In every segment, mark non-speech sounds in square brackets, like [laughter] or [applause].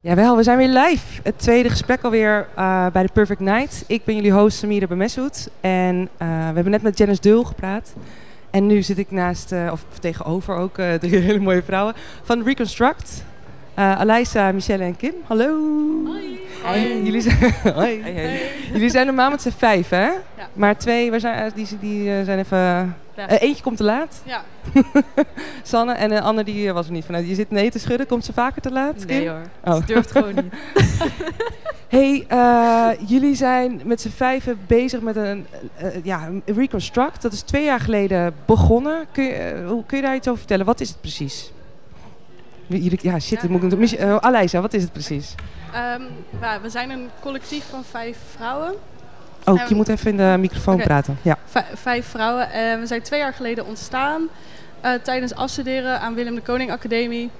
Jawel, we zijn weer live. Het tweede gesprek alweer eh, bij de Perfect Night. Ik ben jullie host Samira Bemeshoed. En eh, we hebben net met Janice Deul gepraat. En nu zit ik naast, eh, of tegenover ook, eh, [laughs] drie hele mooie vrouwen van Reconstruct. Eh Alaysa, Michelle en Kim. Hallo. Hey, Jullie zijn, [laughs] Eh, Hoi. Jullie zijn normaal met z'n vijf, hè? Maar twee, waar zijn, eh, die, die eh, zijn even... eh, eentje komt te laat, Ja. Sanne. En de ander die eh, was er niet vanuit. Je zit nee te schudden. Komt ze vaker te laat, Kim? Nee hoor. Oh. Ze durft gewoon [laughs] niet. Hey, eh, jullie zijn met z'n vijven bezig met een eh, eh, ja, een Reconstruct. Dat is twee jaar geleden begonnen. Kun je, eh, hoe kun je daar iets over vertellen? Wat is het precies? Wie- Jullie, ja, shit, dit moet ik natuurlijk. Uh, Alijsa, wat is het precies? Ehm, ja, we zijn een collectief van vijf vrouwen. Oh, Ja, je moet even in de microfoon Nou, Oké. praten. Ja. Vij- vijf vrouwen. En we zijn twee jaar geleden ontstaan eh, tijdens afstuderen aan Willem de Koning Academie.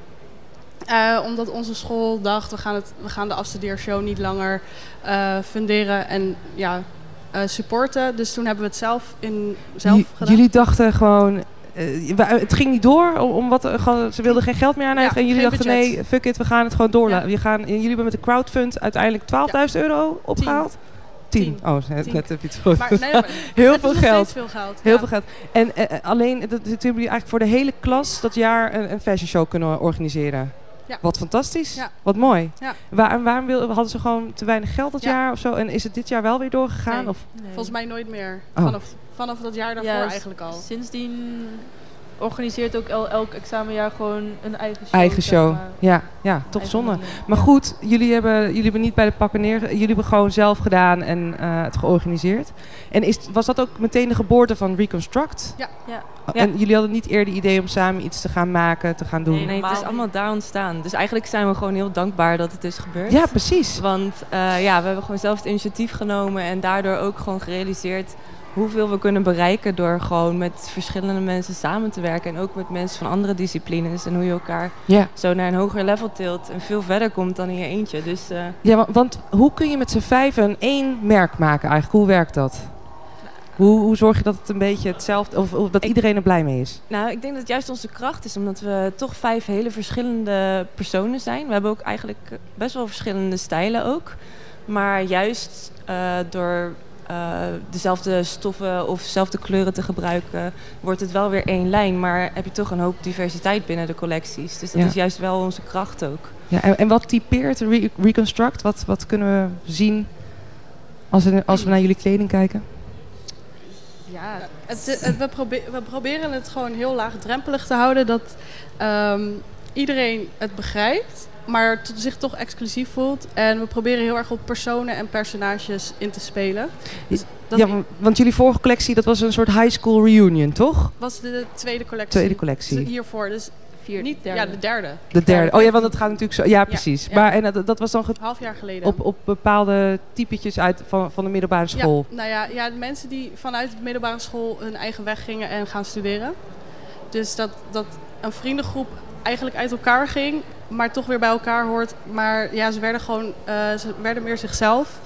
Eh, omdat onze school dacht, we gaan, het, we gaan de afstudeershow niet langer eh, funderen en ja, eh, supporten. Dus toen hebben we het zelf, in, zelf J- gedaan. jullie dachten gewoon. eh, wa- het ging niet door, om, om wat, eh, gewoon- ze wilden geen geld meer aan Ja, En jullie geen dachten, budget. nee, fuck it, we gaan het gewoon door. Ja. We gaan, en jullie hebben met de crowdfund uiteindelijk 12.000 euro opgehaald. 10. Tien. Oh, net Tien. net even iets goed. Maar, nee, maar [laughs] Heel het veel is nog geld. steeds veel geld. Heel ja. veel geld. En eh, eh, alleen, dat, dat hebben jullie eigenlijk voor de hele klas dat jaar een, een fashion show kunnen organiseren. Ja. Wat fantastisch. Ja. Wat mooi. Ja. Waar- waarom wil, hadden ze gewoon te weinig geld dat Ja. jaar of zo? En is het dit jaar wel weer doorgegaan? Nee. Of, Volgens mij nooit meer. Oh. Vanaf, vanaf dat jaar daarvoor Ja, s- eigenlijk al. Sindsdien organiseert ook el- elk examenjaar gewoon een eigen show. eigen zeg show. eh, maar. Ja, ja, toch Eigen zonde. manier. Maar goed, jullie hebben, jullie hebben niet bij de pakken neer. Jullie hebben gewoon zelf gedaan en eh, het georganiseerd. En is, was dat ook meteen de geboorte van Reconstruct? Ja. Ja. Oh, Ja. En jullie hadden niet eerder idee om samen iets te gaan maken, te gaan doen? Nee, nee, het is allemaal daar ontstaan. Dus eigenlijk zijn we gewoon heel dankbaar dat het is gebeurd. Ja, precies. Want eh, ja, we hebben gewoon zelf het initiatief genomen en daardoor ook gewoon gerealiseerd hoeveel we kunnen bereiken door gewoon met verschillende mensen samen te werken. En ook met mensen van andere disciplines en hoe je elkaar Ja. zo naar een hoger level tilt en veel verder komt dan in je eentje. Dus eh, Ja, wa- want hoe kun je met z'n vijven een één merk maken eigenlijk? Hoe werkt dat? Hoe, hoe zorg je dat het een beetje hetzelfde, of, of dat Ik- iedereen er blij mee is? Nou, ik denk dat het juist onze kracht is, omdat we toch vijf hele verschillende personen zijn. We hebben ook eigenlijk eh, best wel verschillende stijlen ook. Maar juist eh, door eh, dezelfde stoffen of dezelfde kleuren te gebruiken, wordt het wel weer één lijn. Maar heb je toch een hoop diversiteit binnen de collecties. Dus dat Ja. is juist wel onze kracht ook. Ja, en, en wat typeert Re- Reconstruct? Wat, wat kunnen we zien als we, als we naar jullie kleding kijken? Ja, Het, het- we, probe- we proberen het gewoon heel laagdrempelig te houden. Dat ehm, iedereen het begrijpt, maar to- zich toch exclusief voelt. En we proberen heel erg op personen en personages in te spelen. Dus dat ja, wa- want jullie vorige collectie, dat was een soort high school reunion, toch? was de tweede collectie. Tweede collectie. Hiervoor, dus vier, niet derde. ja, de derde. De derde. Oh ja, want dat gaat natuurlijk zo. Ja, precies. ja. Maar en dat, dat was dan ge- Half jaar geleden. op, op bepaalde typetjes uit van, van de middelbare school. Ja, nou ja, ja, de mensen die vanuit de middelbare school hun eigen weg gingen en gaan studeren. Dus dat, dat een vriendengroep eigenlijk uit elkaar ging, maar toch weer bij elkaar hoort. Maar ja, ze werden gewoon eh, ze werden meer zichzelf.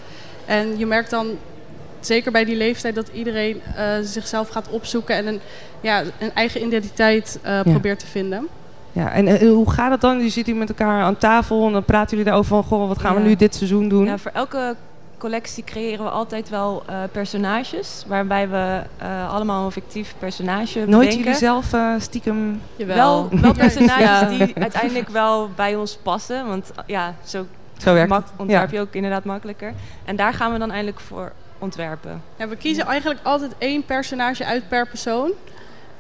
En je merkt dan, zeker bij die leeftijd, dat iedereen eh, zichzelf gaat opzoeken en een, ja, een eigen identiteit eh, probeert te vinden. Ja, en eh, hoe gaat dat dan? Je zit hier met elkaar aan tafel en dan praten jullie daarover van... Goh, wat gaan we Ja. nu dit seizoen doen? Ja, voor elke collectie creëren we altijd wel eh, personages, waarbij we eh, allemaal een fictief personage Nooit bedenken. jullie zelf eh, stiekem... Wel, wel personages Ja. die uiteindelijk wel bij ons passen. Want eh, ja, zo Zo werkt mak- het. ontwerp je ook inderdaad makkelijker. En daar gaan we dan eindelijk voor ontwerpen. Ja, we kiezen eigenlijk altijd één personage uit per persoon.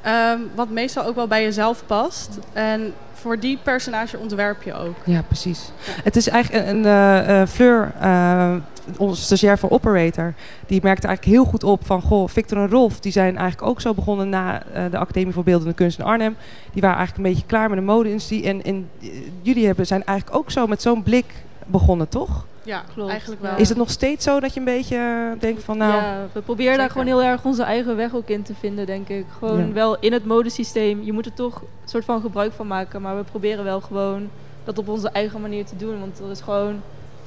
ehm, wat meestal ook wel bij jezelf past. En voor die personage ontwerp je ook. Ja, precies. Het is eigenlijk een, een eh, eh, Fleur, eh, onze stagiair voor Operator, die merkte eigenlijk heel goed op van, goh, Victor en Rolf, die zijn eigenlijk ook zo begonnen na eh, de Academie voor Beeldende Kunst in Arnhem. Die waren eigenlijk een beetje klaar met de mode-industrie. En, en eh, jullie hebben, zijn eigenlijk ook zo met zo'n blik begonnen, toch? Ja, Klopt, eigenlijk wel. ja. Is het nog steeds zo dat je een beetje eh, denkt van, nou... ja, we proberen daar zeker. gewoon heel erg onze eigen weg ook in te vinden, denk ik. Gewoon Ja. wel in het modesysteem. Je moet er toch een soort van gebruik van maken. Maar we proberen wel gewoon dat op onze eigen manier te doen. Want er is gewoon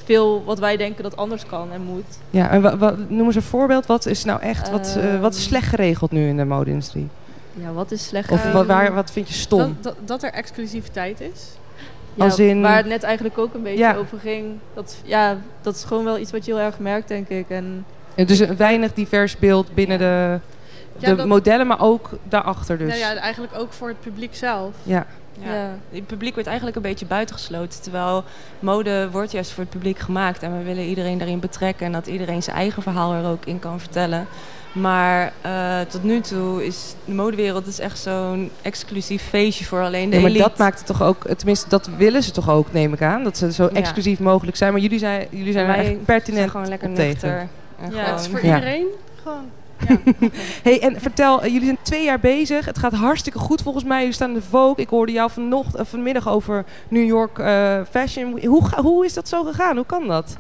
veel wat wij denken dat anders kan en moet. Ja, en wa- wa- noem eens een voorbeeld. Wat is nou echt, wat, eh, wat is Ehm. slecht geregeld nu in de mode-industrie? Ja, wat is slecht? Of Ehm, wat, waar, wat vind je stom? Dat, dat, dat er exclusiviteit is. Ja, Als in- Waar het net eigenlijk ook een beetje Ja. over ging. Dat, ja, dat is gewoon wel iets wat je heel erg merkt, denk ik. En Ja, Dus een weinig divers beeld binnen de, Ja, de dat- modellen, maar ook daarachter dus. Nou ja, eigenlijk ook voor het publiek zelf. Ja. ja. Het publiek wordt eigenlijk een beetje buitengesloten. Terwijl mode wordt juist voor het publiek gemaakt. En we willen iedereen daarin betrekken. En dat iedereen zijn eigen verhaal er ook in kan vertellen. Maar eh, tot nu toe is de modewereld is echt zo'n exclusief feestje voor alleen de Nee, maar elite. dat maakt het toch ook, tenminste dat willen ze toch ook, neem ik aan. Dat ze zo Ja. exclusief mogelijk zijn. Maar jullie zijn, jullie zijn er Wij echt zijn pertinent gewoon lekker op tegen. nuchter. En Ja, het is gewoon- [laughs] voor Ja. iedereen. Gewoon. Hey, en vertel, eh, jullie zijn twee jaar bezig. Het gaat hartstikke goed volgens mij. Jullie staan in de Vogue. Ik hoorde jou vanochtend, eh, vanmiddag over New York eh, Fashion. Hoe, ga- hoe is dat zo gegaan? Hoe kan dat?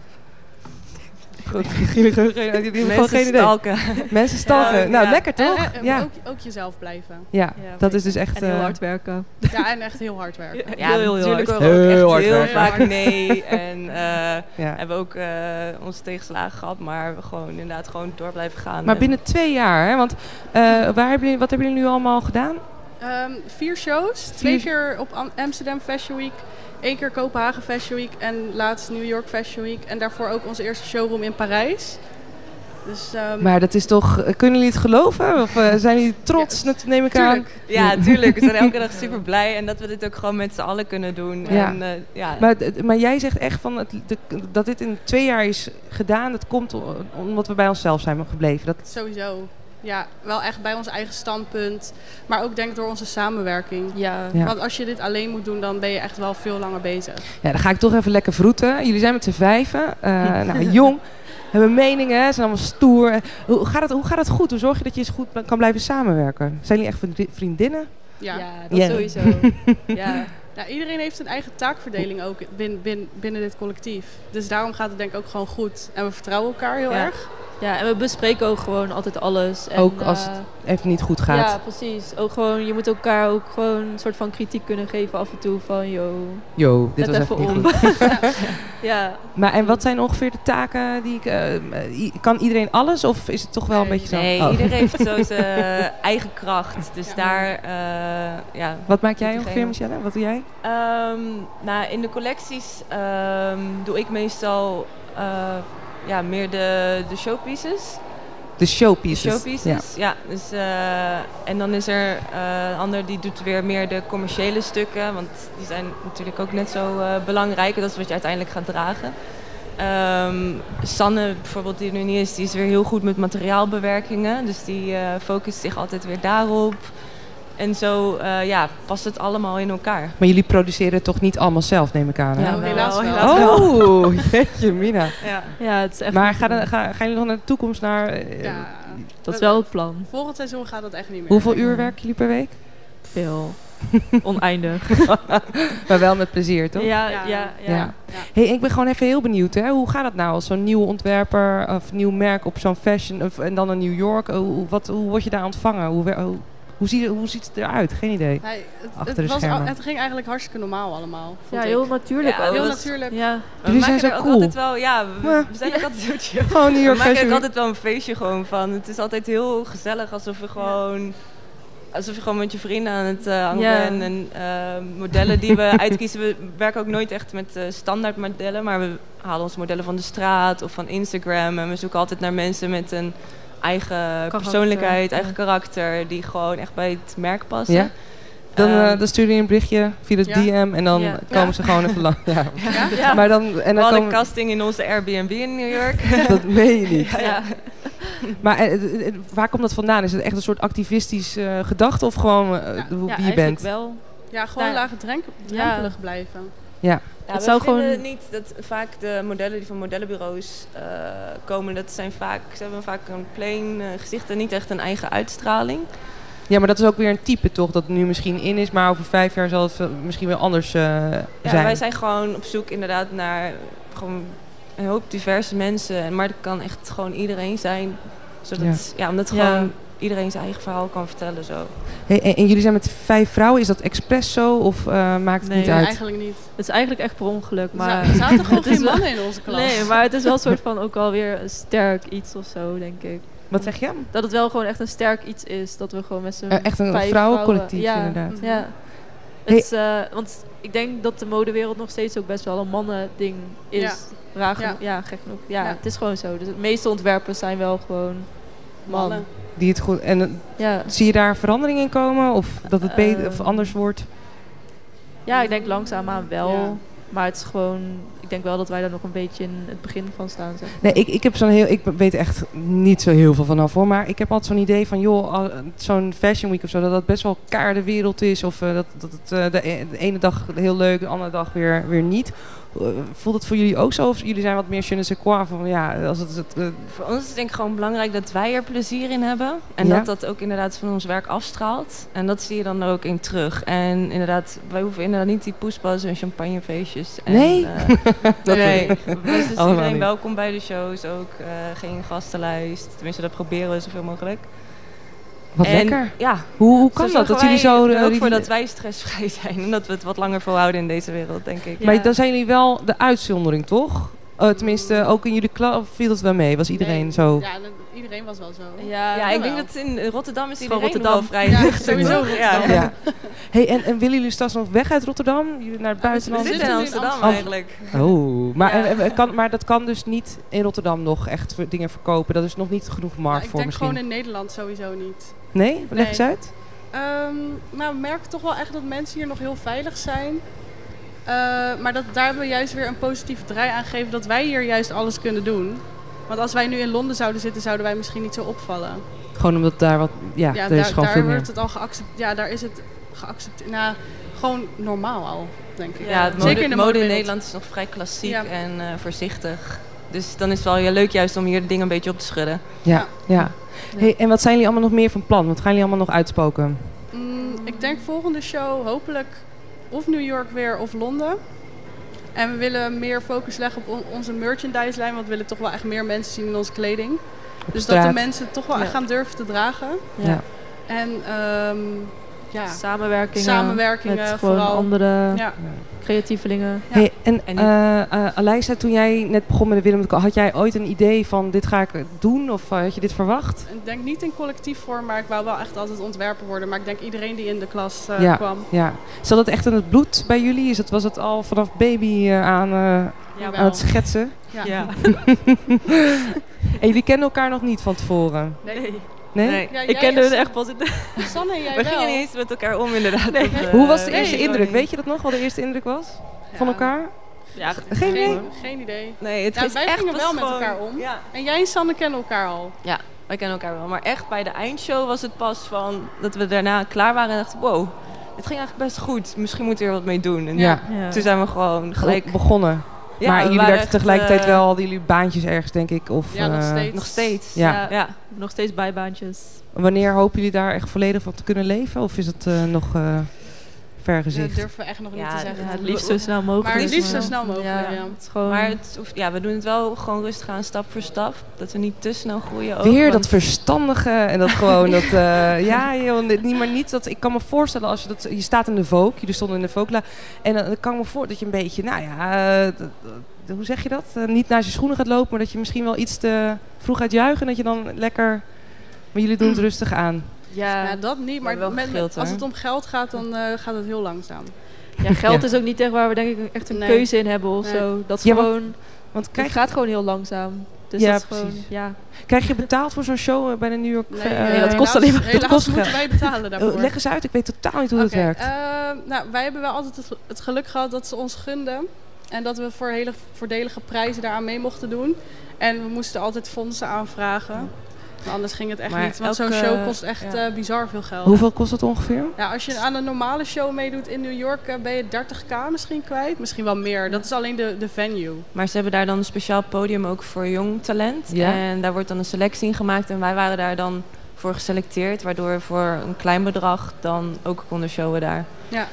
Goed, [laughs] jullie hebben geen- jullie hebben gewoon [laughs] Mensen geen idee. stalken. Mensen stalken. Ja, nou, ja. lekker toch? En, en ja. ook, ook jezelf blijven. ja, Ja, dat is dus echt... En heel eh, hard werken. Ja, en echt heel hard werken. Ja, natuurlijk hard. horen we ook Heel hard echt heel werken. vaak nee. En eh, ja. hebben ook eh, onze tegenslagen gehad. Maar we gewoon inderdaad gewoon door blijven gaan. Maar En- binnen twee jaar, hè? Want eh, waar hebben jullie, wat hebben jullie nu allemaal gedaan? Ehm, vier shows. Twee Vier- keer op Am- Amsterdam Fashion Week. één keer Kopenhagen Fashion Week. En laatst New York Fashion Week. En daarvoor ook onze eerste showroom in Parijs. Dus ehm, Maar dat is toch... eh, Kunnen jullie het geloven? Of eh, zijn jullie trots, Dat neem ik aan? tuurlijk. Ja, tuurlijk. We zijn elke [laughs] dag super blij en dat we dit ook gewoon met z'n allen kunnen doen. Ja. En, eh, ja. Maar, d- maar jij zegt echt van het, de, dat dit in twee jaar is gedaan. Dat komt o- omdat we bij onszelf zijn gebleven. Dat, Sowieso. Ja, wel echt bij ons eigen standpunt. Maar ook denk ik door onze samenwerking. Ja. Ja. Want als je dit alleen moet doen, dan ben je echt wel veel langer bezig. ja, dan ga ik toch even lekker vroeten. Jullie zijn met z'n vijven. eh, nou, jong. Hebben meningen. Zijn allemaal stoer. Eh, Hoe gaat, het, hoe gaat het goed? Hoe zorg je dat je eens goed bl- kan blijven samenwerken? Zijn jullie echt vriend- vriendinnen? Ja. Ja. dat Ja. [laughs] sowieso. ja. iedereen heeft een eigen taakverdeling ook binnen, binnen, binnen dit collectief. Dus daarom gaat het denk ik ook gewoon goed. En we vertrouwen elkaar heel Ja. erg. ja, en we bespreken ook gewoon altijd alles. En, Ook als eh, het Even niet goed gaat. Ja, precies. Ook gewoon, je moet elkaar ook gewoon een soort van kritiek kunnen geven af en toe van, yo. Yo, dit Let was even even niet om. goed. Ja, Maar en wat zijn ongeveer de taken die ik... eh, i- kan iedereen alles? Of is het toch wel een Nee, beetje zo? nee, Oh. iedereen heeft [laughs] zo zijn eh, eigen kracht. Dus Ja. daar, eh, ja. Wat maak jij Diegene. ongeveer, Michelle? Wat doe jij? Ehm, nou, in de collecties ehm, doe ik meestal eh, ja, meer de, de showpieces. De showpieces. De showpieces, ja. dus, eh, en dan is er eh, een ander die doet weer meer de commerciële stukken. Want die zijn natuurlijk ook net zo eh, belangrijk. En dat is wat je uiteindelijk gaat dragen. Ehm, Sanne bijvoorbeeld, die er nu niet is, die is weer heel goed met materiaalbewerkingen. Dus die eh, focust zich altijd weer daarop. En zo eh, ja, past het allemaal in elkaar. Maar jullie produceren het toch niet allemaal zelf, neem ik aan? hè? Ja. helaas wel. Oh, jeetje mina. Ja. ja het is echt... Maar ga, dan- ga, gaan jullie nog naar de toekomst naar... eh, Ja. dat is wel het plan. Volgend seizoen gaat dat echt niet meer. Hoeveel uur werken jullie per week? [laughs] Veel. Oneindig. Maar wel met plezier, toch? Ja, Ja. ja, ja. Ja. Hey, ik ben gewoon even heel benieuwd. Hè? Hoe gaat het nou als zo'n nieuwe ontwerper of nieuw merk op zo'n fashion of, en dan in New York? Hoe- Hoe, wat, hoe word je daar ontvangen? Hoe, wer- hoe, hoe, zie je- hoe ziet het eruit? Geen idee. Nee, het, Achter het de was, schermen. al- het ging eigenlijk hartstikke normaal allemaal. vond Ja, ik. heel natuurlijk. Ja, ook. Heel was- natuurlijk. Ja, We Oh, Jullie zijn maken zo er ook cool. altijd wel, ja, we, Ja. we zijn ook altijd een soort- Gewoon New We York maken fashion. ook Week. altijd wel een feestje gewoon van. Het is altijd heel gezellig alsof we gewoon. Alsof je gewoon met je vrienden aan het eh, hangen Ja. bent. En eh, modellen die [laughs] we uitkiezen. We werken ook nooit echt met eh, standaard modellen. Maar we halen onze modellen van de straat of van Instagram. En we zoeken altijd naar mensen met een eigen persoonlijkheid, ja. eigen karakter. Die gewoon echt bij het merk passen. Ja? Dan, eh, Ehm, dan sturen jullie een berichtje via de Ja. DM en dan Ja. komen ze gewoon even lang. Ja. Ja? Ja. Maar dan, en we dan hadden komen, casting in onze Airbnb in New [laughs] York. dat meen je niet. ja. Maar eh, eh, eh, waar komt dat vandaan? Is het echt een soort activistisch eh, gedachte of gewoon eh, hoe- Ja. Ja, wie je eigenlijk bent? wel. Ja, gewoon Nou, lage drenk- drempelig blijven. Ja, Het we zou vinden gewoon- niet dat vaak de modellen die van modellenbureaus eh, komen, dat zijn vaak, ze hebben vaak een plain eh, gezicht en niet echt een eigen uitstraling. Ja, maar dat is ook weer een type toch dat nu misschien in is, maar over vijf jaar zal het veel- misschien weer anders eh, Ja, zijn. Wij zijn gewoon op zoek inderdaad naar gewoon een hoop diverse mensen, En- maar dat kan echt gewoon iedereen zijn. Zodat, ja. omdat Ja. gewoon iedereen zijn eigen verhaal kan vertellen zo. Hey, en, en jullie zijn met vijf vrouwen, is dat expres zo of eh, maakt het Nee, niet Nee, uit? eigenlijk niet. Het is eigenlijk echt per ongeluk, maar... Maar, [laughs] er zaten gewoon [laughs] Het is geen wel- mannen in onze klas. Nee, maar het is wel een soort van ook alweer een sterk iets of zo, denk ik. Wat zeg je? Dat het wel gewoon echt een sterk iets is. Dat we gewoon met z'n Eh, echt een vijf vrouwencollectief vrouwen- ja. inderdaad. Ja. Hey. Het is, eh, want ik denk dat de modewereld nog steeds ook best wel een mannen-ding is. Ja. Raar genoeg. Ja. Ja. gek genoeg. Ja, Ja. het is gewoon zo. Dus de meeste ontwerpers zijn wel gewoon man. Mannen. Die het goed, en eh, Ja. zie je daar verandering in komen? Of dat het beter of Ehm, anders wordt? ja, ik denk langzaamaan wel. Ja. Maar het is gewoon, ik denk wel dat wij daar nog een beetje in het begin van staan. Zeg. Nee, ik, ik heb zo'n heel. Ik weet echt niet zo heel veel vanaf hoor. Maar ik heb altijd zo'n idee van, joh, al- zo'n fashion week of zo, dat dat best wel elkaar de wereld is. Of eh, dat, dat het eh, de, e- de ene dag heel leuk, de andere dag weer, weer niet. Eh, voelt het voor jullie ook zo? Of jullie zijn wat meer je ne sais quoi van ja, als het. het eh, Voor ons is het denk ik gewoon belangrijk dat wij er plezier in hebben. En Ja. dat dat ook inderdaad van ons werk afstraalt. En dat zie je dan er ook in terug. En inderdaad, wij hoeven inderdaad niet die poespas en champagnefeestjes. En, Nee? [laughs] eh, [laughs] nee. Dus is Allemaal iedereen niet. welkom bij de shows. Ook eh, geen gastenlijst. Tenminste, dat proberen we zoveel mogelijk. wat En lekker. Ja, Hoe, hoe kan dat? Dat jullie zo. eh, Er ook die- voor dat wij stressvrij [laughs] zijn. En dat we het wat langer volhouden in deze wereld, denk ik. Ja. Maar dan zijn jullie wel de uitzondering, toch? Eh, tenminste, ook in jullie klas viel het wel mee. Was iedereen Nee. zo? Ja, dat- iedereen was wel zo. Ja, Ja, ik denk Jawel. dat in Rotterdam is Iedereen iedereen Rotterdam wel. vrij. [laughs] Ja, luchtig, sowieso toch? Ja. Rotterdam. Ja. Hey, en, en willen jullie straks nog weg uit Rotterdam? Jullie naar het Ja, we We buitenland? zitten zitten nu in in Amsterdam Amsterdam. eigenlijk. [laughs] Oh, maar, Ja. eh, eh, kan, maar dat kan dus niet in Rotterdam nog echt ver- dingen verkopen. Dat is nog niet genoeg Nou, markt ik voor denk misschien. gewoon in Nederland sowieso niet. Nee? Leg Nee. eens uit. Ehm, nou, we merken toch wel echt dat mensen hier nog heel veilig zijn. Eh, maar dat, daar hebben we juist weer een positieve draai aan gegeven dat wij hier juist alles kunnen doen. Want als wij nu in Londen zouden zitten, zouden wij misschien niet zo opvallen. Gewoon omdat daar wat... Ja, er is daar, gewoon daar veel meer. wordt het al geaccepteerd. Ja, daar is het geaccepteerd. Nou, gewoon normaal al, denk ik. Ja, het mode, Zeker in de mode in modewereld. Nederland is nog vrij klassiek Ja. en eh, voorzichtig. Dus dan is het wel heel leuk juist om hier de dingen een beetje op te schudden. Ja, ja. Hey, en wat zijn jullie allemaal nog meer van plan? Wat gaan jullie allemaal nog uitspoken? Mm, ik denk volgende show hopelijk of New York weer of Londen. En we willen meer focus leggen op on- onze merchandise-lijn, want we willen toch wel echt meer mensen zien in onze kleding. Op dus straat? dat de mensen toch wel Ja. echt gaan durven te dragen. Ja. Ja. En ehm, ja, Samenwerkingen. samenwerkingen met gewoon vooral. andere Ja. creatievelingen. Ja. Hey, en En- eh, eh, Aleisa, toen jij net begon met de Willem, had jij ooit een idee van dit ga ik doen? Of eh, had je dit verwacht? Ik denk niet in collectief vorm, maar ik wou wel echt altijd ontwerper worden. Maar ik denk iedereen die in de klas eh, Ja. kwam. Ja. Zat dat echt in het bloed bij jullie? Is dat, was het al vanaf baby eh, aan, eh, Jawel. aan het schetsen? Ja. En jullie kennen elkaar nog niet van tevoren? Nee. Nee? Nee. Ja, ik jij kende en hun echt pas in de... San- [laughs] Sanne en jij We wel. gingen niet eens met elkaar om inderdaad. eh, Nee. Hoe was de nee, eerste indruk? Weet je dat nog, wat de eerste indruk was van Ja. elkaar? Ja, Geen idee? Geen, geen idee. Nee, het Ja, is wij echt gingen pas wel met gewoon- elkaar om. Ja. En jij en Sanne kennen elkaar al. ja, wij kennen elkaar wel. Maar echt bij de eindshow was het pas van dat we daarna klaar waren en dachten, wow, het ging eigenlijk best goed. Misschien moeten we er wat mee doen. En Ja. Toen zijn we gewoon gelijk... Gelijk begonnen. Ja, we maar jullie waren werkten echt, tegelijkertijd eh, wel, hadden jullie baantjes ergens, denk ik? Of, Ja, nog eh, steeds. Nog steeds. Ja. Ja. ja. Nog steeds bijbaantjes. Wanneer hopen jullie daar echt volledig van te kunnen leven? Of is het eh, nog eh ver Dat gezicht? durven we echt nog Ja, niet te zeggen. ja, het liefst zo snel mogelijk. Maar het liefst zo maar- snel mogelijk, ja. Het is gewoon... Maar het hoeft- ja, we doen het wel gewoon rustig aan, stap voor stap. Dat we niet te snel groeien. Ook, Weer dat want- verstandige en dat gewoon dat eh, ja joh, dit niet maar niet dat ik kan me voorstellen als je dat je staat in de volk, jullie stonden in de volkla en dan dan kan ik me voor dat je een beetje nou ja eh, d- d- hoe zeg je dat Eh, niet naast je schoenen gaat lopen, maar dat je misschien wel iets te vroeg gaat juichen en dat je dan lekker maar jullie doen het rustig aan. ja, Ja, dat niet, maar Maar wel met- gegild, als hoor. het om geld gaat, dan eh, gaat het heel langzaam. ja, [laughs] geld Ja. is ook niet echt waar we denk ik echt een Nee. keuze in hebben of Nee. zo. Dat is Ja, want- gewoon... Want Het krijg, gaat gewoon heel langzaam. Dus Ja, dat is gewoon... precies. Ja. krijg je betaald voor zo'n show eh, bij de New York? eh, nee, dat eh, kost helaas- alleen maar- dat Helaas kost moeten geld. wij betalen eh, daarvoor. leg eens uit, ik weet totaal niet hoe dat Oké, werkt. eh, nou, wij hebben wel altijd het, het geluk gehad dat ze ons gunden. En dat we voor hele voordelige prijzen daaraan mee mochten doen. En we moesten altijd fondsen aanvragen. Want anders ging het echt Maar niet. Want zo'n elke- show kost echt ja. eh, bizar veel geld. Hoeveel kost dat ongeveer? Ja, als je aan een normale show meedoet in New York, eh, ben je 30k misschien kwijt. Misschien wel meer. Dat is alleen de, de venue. Maar ze hebben daar dan een speciaal podium ook voor jong talent. Ja. En daar wordt dan een selectie in gemaakt. En wij waren daar dan voor geselecteerd. Waardoor we voor een klein bedrag dan ook konden showen daar.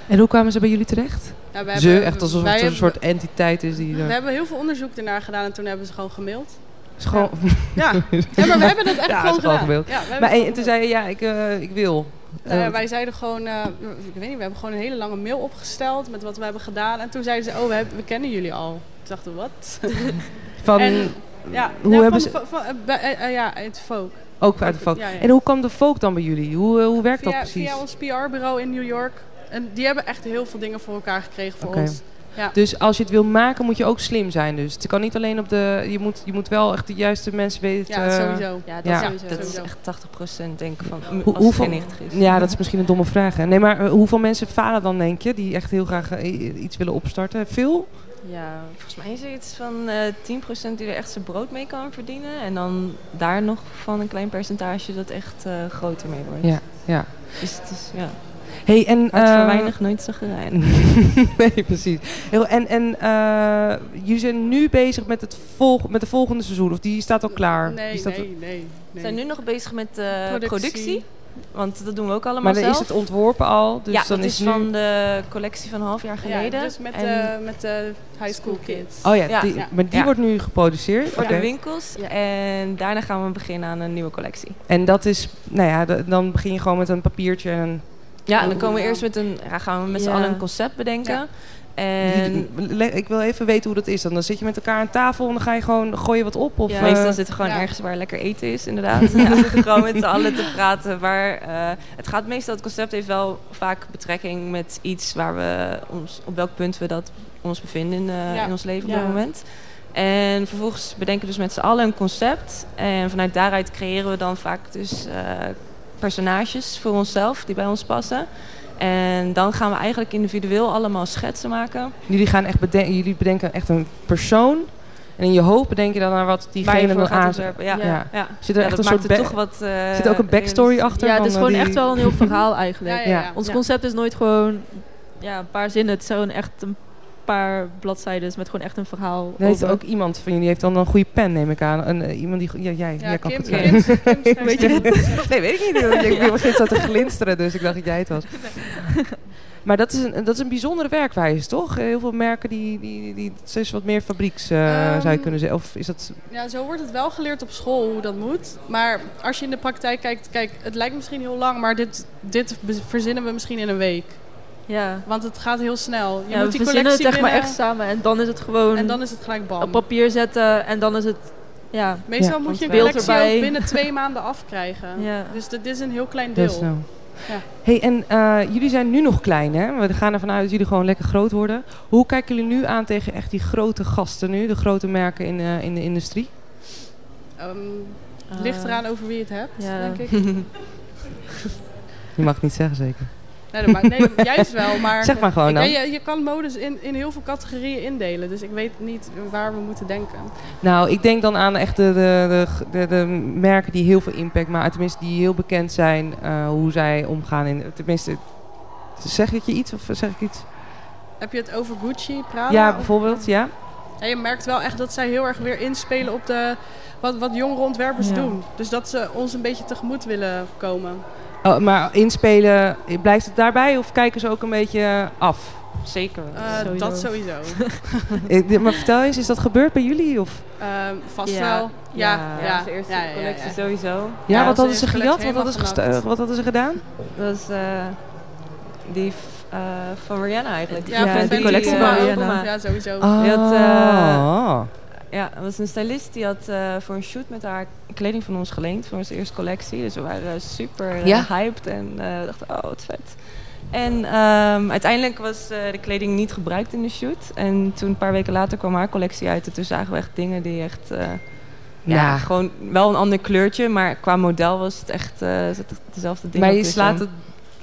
En hoe kwamen ze bij jullie terecht? Ja, we Ze, hebben- echt alsof wij het een hebben- soort entiteit is die... We er- hebben heel veel onderzoek ernaar gedaan en toen hebben ze gewoon [laughs] gemaild. is gewoon- Ja, [laughs] Ja, maar we hebben dat echt Ja, gewoon het is gewoon gedaan. gemaild. Ja, we hebben Maar het en, toen gewoon gemaild. zei je, ja, ik, eh, ik wil. Nou ja, Eh, wij zeiden gewoon, eh, ik weet niet, we hebben gewoon een hele lange mail opgesteld met wat we hebben gedaan. En toen zeiden ze, oh, we, hebben- we kennen jullie al. Toen dachten we, wat? van, en- Ja, Hoe ja, hebben van- ze- Van, van- eh, bij- eh, eh, ja, uit Vogue. ook uit de folk. Ja, ja. En hoe kwam de folk dan bij jullie? Hoe, eh, hoe werkt via, dat precies? Via ons PR-bureau in New York. En die hebben echt heel veel dingen voor elkaar gekregen voor Oké. ons. Dus als je het wil maken, moet je ook slim zijn. Dus het kan niet alleen op de. Je moet, je moet wel echt de juiste mensen weten. Ja, Eh, sowieso. Ja, dat Ja. is sowieso. Dat is Sowieso. echt 80% denk ik van Hoe- hoe, als hoeveel- het geen 90 is. Ja, dat is misschien een domme vraag. Hè? Nee, maar eh, hoeveel mensen falen dan, denk je? Die echt heel graag eh, iets willen opstarten? Veel? Ja, volgens mij is er iets van eh 10% die er echt zijn brood mee kan verdienen. En dan daar nog van een klein percentage dat echt eh, groter mee wordt. Ja, ja. Dus het is, ja. Hey, en, Hard eh, voor weinig, nooit zagrijnig. [laughs] nee, precies. Heel, en en eh, jullie zijn nu bezig met, het volg met de volgende seizoen? Of die staat al klaar? Die Nee, staat- nee, nee, We nee. zijn nu nog bezig met eh, Productie. productie. Want dat doen we ook allemaal Maar dan zelf. is het ontworpen al. Dus ja, dan dat is nu... van de collectie van een half jaar Ja, geleden. dus met, en de, met de high school kids. Oh ja, Ja, die- ja. maar die Ja. wordt nu geproduceerd. voor Oké. de winkels. Ja. En daarna gaan we beginnen aan een nieuwe collectie. En dat is, nou ja, d- dan begin je gewoon met een papiertje en een Ja, en Oh, dan komen we ja. eerst met een, ja, gaan we met Ja. z'n allen een concept bedenken. Ja. En [laughs] Le- Ik wil even weten hoe dat is. Dan, dan zit je met elkaar aan tafel en dan ga je gewoon gooi je wat op. Of, Ja. eh, Meestal zitten we gewoon ja. ergens waar lekker eten is, inderdaad. Ja, [laughs] we zitten gewoon met z'n allen te praten. Maar eh, het gaat meestal, het concept heeft wel vaak betrekking met iets waar we ons, op welk punt we dat ons bevinden in, eh, Ja. in ons leven op Ja. dat moment. En vervolgens bedenken we dus met z'n allen een concept. En vanuit daaruit creëren we dan vaak dus eh, personages voor onszelf die bij ons passen. En dan gaan we eigenlijk individueel allemaal schetsen maken. jullie, gaan echt beden- jullie bedenken echt een persoon. En in je hoofd bedenk je dan naar wat waar je diegene voor dan gaat aan... ontwerpen. Ja. Ja. Ja. Zit er Ja, echt een dat soort maakt het back- toch wat... eh, zit er ook een backstory realistisch. achter? Ja, van, het is eh, gewoon die- echt wel een heel [laughs] verhaal eigenlijk. Ja, ja, Ja. ja. Ons Ja. concept is nooit gewoon ja, een paar zinnen. Het zijn gewoon echt een paar bladzijden met gewoon echt een verhaal. Dan heeft over- ook iemand van jullie heeft dan een goede pen, neem ik aan. Een, eh, iemand die, go- ja, jij, Ja, jij kan Kim, goed Kim, zijn. Kim schrijft Weet je heel dat? goed. Nee, weet ik niet. want Ik ja. begint zo te glinsteren, dus ik dacht dat jij het [laughs] was. Maar dat is, een, dat is een bijzondere werkwijze, toch? Eh, Heel veel merken die, die, die, het is wat meer fabrieks, eh, zou je Ehm, kunnen zeggen. Of is dat Ja, zo wordt het wel geleerd op school hoe dat moet. Maar als je in de praktijk kijkt, kijk, het lijkt misschien heel lang, maar dit, dit be- verzinnen we misschien in een week. Ja. Want het gaat heel snel. Je Ja, moet we die verzinnen collectie het echt maar binnen echt samen. En dan is het gewoon en dan is het gelijk bam. op papier zetten. En dan is het... Ja, Meestal Ja, moet want je een beeld collectie erbij. ook binnen twee maanden afkrijgen. Ja. Dus dit is een heel klein heel deel. snel? Ja. Hey, en eh, jullie zijn nu nog klein, hè? We gaan ervan uit dat jullie gewoon lekker groot worden. Hoe kijken jullie nu aan tegen echt die grote gasten nu? De grote merken in, eh, in de industrie? Ehm, het Ah. ligt eraan over wie je het hebt, ja. denk ik. Je mag het niet zeggen, zeker. Nee, dat maakt- [laughs] nee, juist wel, maar... Zeg maar gewoon Ik- dan. ja, je, je kan modus in, in heel veel categorieën indelen, dus ik weet niet waar we moeten denken. Nou, ik denk dan aan echt de, de, de, de, de merken die heel veel impact maken. Tenminste, die heel bekend zijn eh, hoe zij omgaan. In, tenminste, zeg ik je iets of zeg ik iets? Heb je het over Gucci, Prada? Ja, of- bijvoorbeeld, ja. Ja, je merkt wel echt dat zij heel erg weer inspelen op de, wat, wat jongere ontwerpers Ja. doen. Dus dat ze ons een beetje tegemoet willen komen. Oh, maar inspelen, blijft het daarbij of kijken ze ook een beetje af? Zeker. wel. Eh, Sowieso. dat sowieso. Eh, maar vertel eens, is dat gebeurd bij jullie? Of? Ehm, vast Ja, wel. Ja, ja, ja, onze eerste ja, ja, ja. collectie sowieso. Ja, Ja, wat ze hadden ze heeft gejat? Wat helemaal hadden ze, genakt. gestu- wat hadden ze gedaan? Dat was eh, die f- eh, van Rihanna eigenlijk. Ja, van die Fendi, collectie eh, van Obama. Rihanna. Ja, sowieso. Oh. Je had, eh, Ja, er was een stylist die had eh, voor een shoot met haar kleding van ons geleend. Voor onze eerste collectie. Dus we waren super eh, Ja. hyped en eh, we dachten, oh wat vet. En ehm, uiteindelijk was eh, de kleding niet gebruikt in de shoot. En toen een paar weken later kwam haar collectie uit. En toen zagen we echt dingen die echt... eh, ja, Ja. gewoon wel een ander kleurtje. Maar qua model was het echt eh, zat echt dezelfde dingen. maar je tussen. slaat het...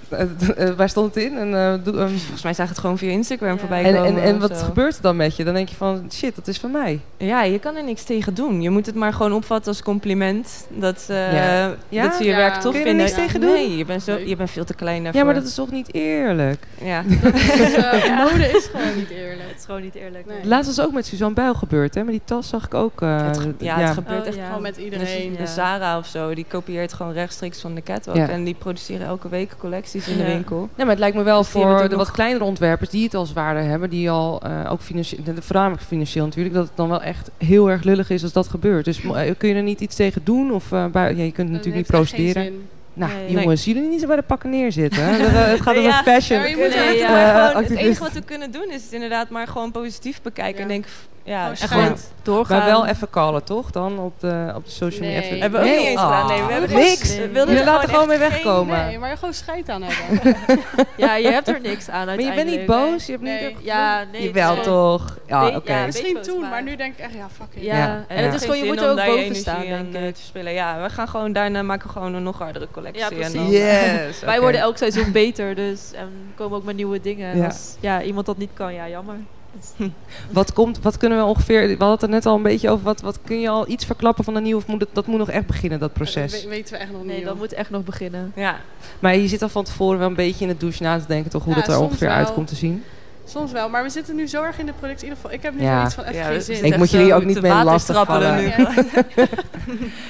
eh, eh, waar stond het in? En, eh, doe- eh, Volgens mij zag het gewoon via Instagram Ja. voorbij en, komen. en, en of wat zo. gebeurt er dan met je? Dan denk je van, shit, dat is van mij. Ja, je kan er niks tegen doen. Je moet het maar gewoon opvatten als compliment. Dat, ze, eh, Ja. Ja? dat ze je Ja. werk tof Kun je er vinden. niks tegen doen? Nee, je bent, zo, Leuk. je bent veel te klein daarvoor. Ja, maar dat is toch niet eerlijk? Ja. Dus, eh, Mode is gewoon niet eerlijk. Het is gewoon niet eerlijk. Nee. Laatst was ook met Suzanne Buil gebeurd, hè? Maar die tas zag ik ook. eh, Het ge- ja, het gebeurt Oh, echt. ja. Gewoon met Iedereen, iedereen. de Zara of zo, die kopieert gewoon rechtstreeks van de catwalk. Ja. En die produceren elke week collecties in de Ja. winkel. Nee, maar het lijkt me wel Dus die hebben voor de het ook wat nog- kleinere ontwerpers die het als waarde hebben, die al eh, ook financieel, de- voornamelijk financieel natuurlijk, dat het dan wel echt heel erg lullig is als dat gebeurt. Dus mo- eh, kun je er niet iets tegen doen? Of eh, bui- ja, je kunt Dat natuurlijk niet heeft echt geen procederen. zin. Nou, Nee. jongens, jullie niet zo bij de pakken neerzitten. [laughs] hè? Dat, eh, het gaat Nee, over ja. fashion. Ja, maar je moet Nee, er- ja. eh, maar gewoon, het activist. enige wat we kunnen doen is het inderdaad maar gewoon positief bekijken. Ja. En denken, f- Ja, Gewoon en schijnt. gewoon doorgaan. Maar wel even callen, toch? Dan op de, op de social media. Nee. Even- hebben we ook Nee? niet eens Ah. gedaan. Nee, we hebben Niks. niks. Nee. We wilden Jullie er laten gewoon mee echt geen- wegkomen. Nee, maar gewoon scheid aan hebben. Ja, je hebt er niks aan Maar je bent niet uiteindelijk. boos? Je hebt Nee. niet... Ja, nee. Jawel, het is gewoon- toch? Ja, Nee, oké. ja, weet je Misschien wat het toen, maar- maar nu denk ik echt, ja, fuck it. Ja. Ja. en Ja. het is gewoon, je moet er ook boven staan, denk ik. eh, Spelen. Ja, we gaan gewoon daarna maken we gewoon een nog hardere collectie. Ja, en precies. dan- Yes. Wij oké. worden elk seizoen beter, dus en komen ook met nieuwe dingen. En Ja. Als ja, iemand dat niet kan, ja, jammer. Wat, komt, wat kunnen we ongeveer... We hadden het er net al een beetje over. Wat, wat kun je al iets verklappen van de nieuwe? Of moet het, dat moet nog echt beginnen, dat Dat proces? we- weten we echt nog niet. Nee, dat joh. moet echt nog beginnen. Ja, Maar je zit al van tevoren wel een beetje in de douche na te denken, toch? Hoe Ja, dat er soms ongeveer wel. uit komt te zien. Soms wel, maar we zitten nu zo erg in de productie. In ieder geval, ik heb nu Ja. zoiets van even ja, geen dus zin. het is Ik echt moet zo jullie ook niet te mee water lastigvallen. trappelen nu. Ja.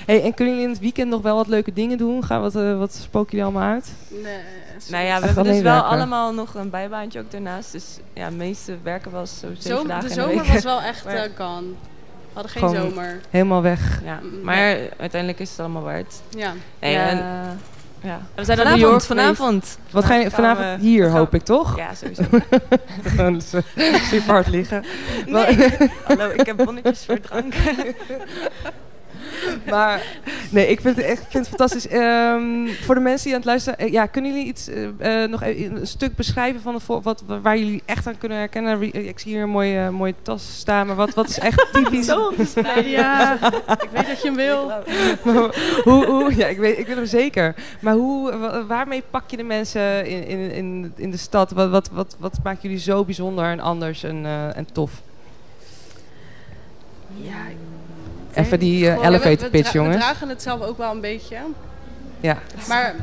Hey, en kunnen jullie in het weekend nog wel wat leuke dingen doen? Gaan, wat, eh, wat spoken jullie allemaal uit? Nee, Nou ja, we Echt hebben dus alleen wel werken. allemaal nog een bijbaantje ook daarnaast. Dus ja, de meeste werken wel zo zeven Zomer- dagen de in de zomer week. was wel echt Maar- eh, gone. We hadden geen Gewoon- zomer. Helemaal weg. Ja, Mm, maar uiteindelijk is het allemaal waard. Ja. Nee, ja. en, ja. We zijn naar New vanavond, York vanavond. Wat ga je gaan we- vanavond hier, wat gaan hoop we- ik, toch? Ja, sowieso. [laughs] Gewoon zo- super hard liggen. Nee. [laughs] Hallo, ik heb bonnetjes voor drank. Maar nee, ik vind het echt vind het fantastisch. Ehm, voor de mensen die aan het luisteren, eh, ja, kunnen jullie iets eh, eh, nog even een stuk beschrijven van de vo- wat, waar jullie echt aan kunnen herkennen? Re- Ik zie hier een mooie, eh, mooie tas staan, maar wat, wat is echt typisch? [laughs] [laughs] dus, ja, ik weet dat je hem wil. hoe, hoe, ja, ik, weet, ik wil hem zeker. Maar hoe, wa- waarmee pak je de mensen in, in, in, in de stad? Wat, wat, wat, wat maakt jullie zo bijzonder en anders en, eh, en tof? Ja, ik- Even die eh, Gewoon- Ja, we- elevator we pitch, dra- We jongens. dragen het zelf ook wel een beetje. Ja. Maar...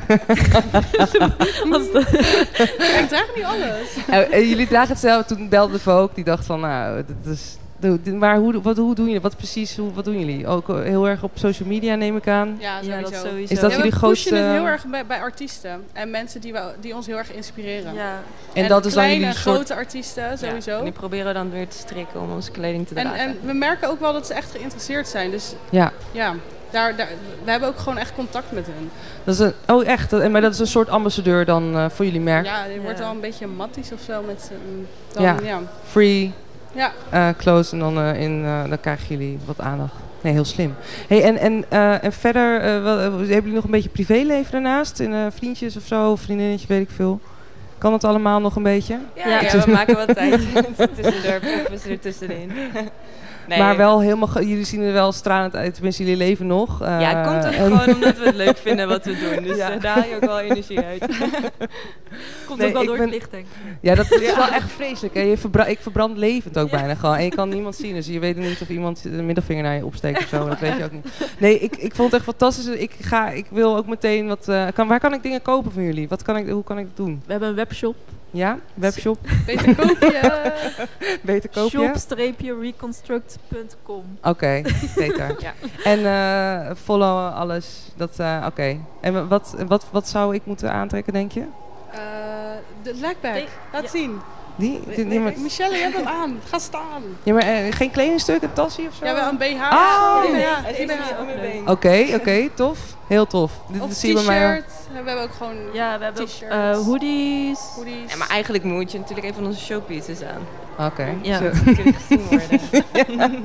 Ja, ik draag niet alles. En, en jullie dragen het zelf. Toen belde we ook. Die dacht van, nou, dat is... doe- dit- Maar hoe, wat, hoe doen jullie? Wat precies, hoe, wat doen jullie? Ook eh, heel erg op social media neem ik aan. Ja, sowieso. Ja, dat sowieso. Is dat ja, jullie we pushen grootste- het heel erg bij, bij artiesten. En mensen die, we, die ons heel erg inspireren. Ja. En, dat is dan kleine, jullie en soort... grote artiesten, sowieso. En die proberen we dan weer te strikken om onze kleding te en, dragen. en we merken ook wel dat ze echt geïnteresseerd zijn. Dus Ja, ja, daar, daar, we hebben ook gewoon echt contact met hen. dat is een... Oh, echt? Dat- maar dat is een soort ambassadeur dan eh, voor jullie merk. Ja, dit wordt Ja. al een beetje matties of zo. Met, z'n- dan, Ja. ja. Ja. Free, ja, eh, close en dan, eh, in, eh, dan krijgen jullie wat aandacht. Nee, heel slim. Hey, en, en, eh, en verder, eh, wel- eh, hebben jullie nog een beetje privéleven daarnaast? In, eh, vriendjes of zo, of vriendinnetje, weet ik veel. Kan dat allemaal nog een beetje? Ja, Ja. ja, we maken wat tijd. [laughs] Tussendoor proppen ze er tussenin. [laughs] Nee. Maar wel helemaal, ge- jullie zien er wel stralend uit, tenminste jullie leven nog. Eh, Ja, het komt ook en- gewoon omdat we het leuk vinden wat we doen. Dus Ja. Oh, eh, daar haal je ook wel energie [laughs] uit. Komt Nee, ook wel ik door ben- het licht, denk ik. [laughs] Ja, dat is wel echt vreselijk. hè. Je verbra- ik verbrand levend ook bijna gewoon. En je kan [laughs] niemand zien, dus je weet niet of iemand de middelvinger naar je opsteekt of zo. Dat weet je ook niet. Nee, ik, ik vond het echt fantastisch. Ik, ga, ik wil ook meteen wat... eh, kan, waar kan ik dingen kopen van jullie? Wat kan ik, hoe kan ik dat doen? We hebben een webshop. [laughs] Ja, [laughs] webshop, beter koopje. beter koopje? Shop-reconstruct.com. Oké, beter. [laughs] Ja. En eh, follow alles. Dat, eh, Oké. En wat, wat, wat zou ik moeten aantrekken, denk je? Eh, de lekback, Ik- laat ja. zien. Die? die- die- maar- Michelle, je hebt hem aan. Ga staan. Ja, maar eh, geen kledingstuk, een tasje of zo? Ja, wel een BH. Ah, ja, nee, ja, Hij zit een om BH. je- om je been. Oké, oké, tof. Heel tof. Dit Of dit zie je bij mij wel. t-shirt. We hebben ook gewoon Ja, we hebben ook, T-shirts. eh, hoodies. hoodies. Ja, maar eigenlijk moet je natuurlijk een van onze showpieces aan. Oké. Ja. Zo. Dat moet natuurlijk gezien [laughs] worden.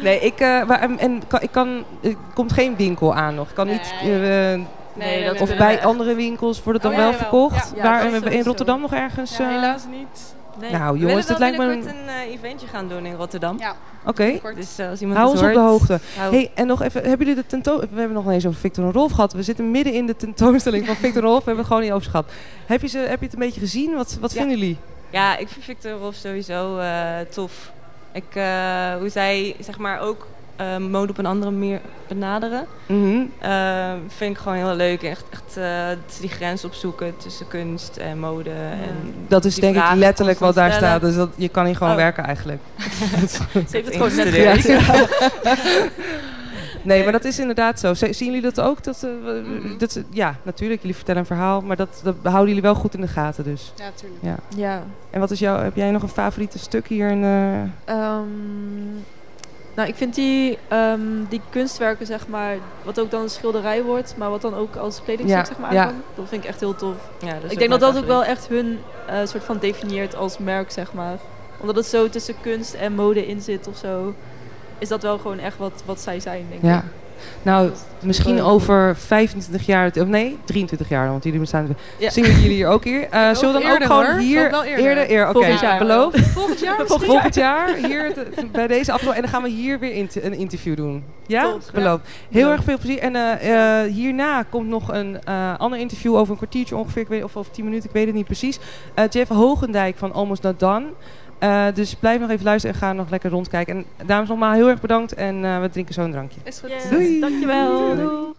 Nee, ik, eh, maar, en, en kan, ik kan, er komt geen winkel aan nog. Ik kan niet, Nee. eh, eh, Nee, dat of kunnen bij we- andere winkels wordt het Oh, dan ja, wel jawel. verkocht. Ja, ja, Waar, dat in sowieso. Rotterdam nog ergens? Ja, eh, helaas niet. Nee. nou We willen jongens, dat wel lijkt me... binnenkort een- een eh, eventje gaan doen in Rotterdam. Ja, Oké, kort. Dus eh, als iemand hou het Oh. ons op de hoort, hoogte. hou- Hey, en nog even, hebben jullie de tentoonstelling... We hebben nog niet eens over Victor en Rolf gehad. We zitten midden in de tentoonstelling van Victor en Rolf. We hebben het gewoon niet over gehad. Heb je, ze, heb je het een beetje gezien? Wat, wat Ja. vinden jullie? Ja, ik vind Victor Rolf sowieso eh, tof. Ik, eh, hoe zij zeg maar ook eh, mode op een andere manier benaderen, Mhm. eh, vind ik gewoon heel leuk. Echt, echt eh, dat ze die grens opzoeken tussen kunst en mode. En Dat is die denk ik vragen letterlijk wat daar constant staat. stellen. Dus dat, je kan hier gewoon Oh. werken eigenlijk. Ze heeft het gewoon net Ja. Ja. gedaan. nee, maar dat is inderdaad zo. Z- zien jullie dat ook? Dat, eh, we- Mhm. dat, ze- ja, natuurlijk. Jullie vertellen een verhaal. Maar dat, dat houden jullie wel goed in de gaten dus. Ja, tuurlijk. Ja. En wat is jouw... Heb jij nog een favoriete stuk hier? In, eh, Ehm, nou, ik vind die, ehm, die kunstwerken, zeg maar, wat ook dan een schilderij wordt, maar wat dan ook als kledingstuk, Ja, zeg maar, ja. aankomt, dat vind ik echt heel tof. Ja, dat is ik denk ook dat dat mijn ook wel echt hun eh, soort van definieert als merk, zeg maar. Omdat het zo tussen kunst en mode in zit of zo, is dat wel gewoon echt wat, wat zij zijn, denk Ja. ik. Nou, Dus het is misschien gewoon- over 25 jaar, of nee, 23 jaar, want jullie bestaan. Ja. Zingen jullie hier ook hier? Eh zullen we dan eerder, ook gewoon hoor. hier Ook wel eerder. eer- Oké, Volgend jaar. beloofd. Volgend [laughs] jaar [laughs] misschien? Volgend jaar hier te- bij deze afloop. En dan gaan we hier weer int- een interview doen. Ja, Top. beloofd. Heel Ja. erg veel plezier. En eh, eh, hierna komt nog een eh, ander interview over een kwartiertje ongeveer. Ik weet, of over 10 minuten, ik weet het niet precies. Eh, Jeff Hogendijk van Almost Not Done. Eh, dus blijf nog even luisteren en ga nog lekker rondkijken. En dames nogmaals heel erg bedankt. En eh, we drinken zo een drankje. Is goed. Yes, Doei. Dankjewel. Doei. Doei.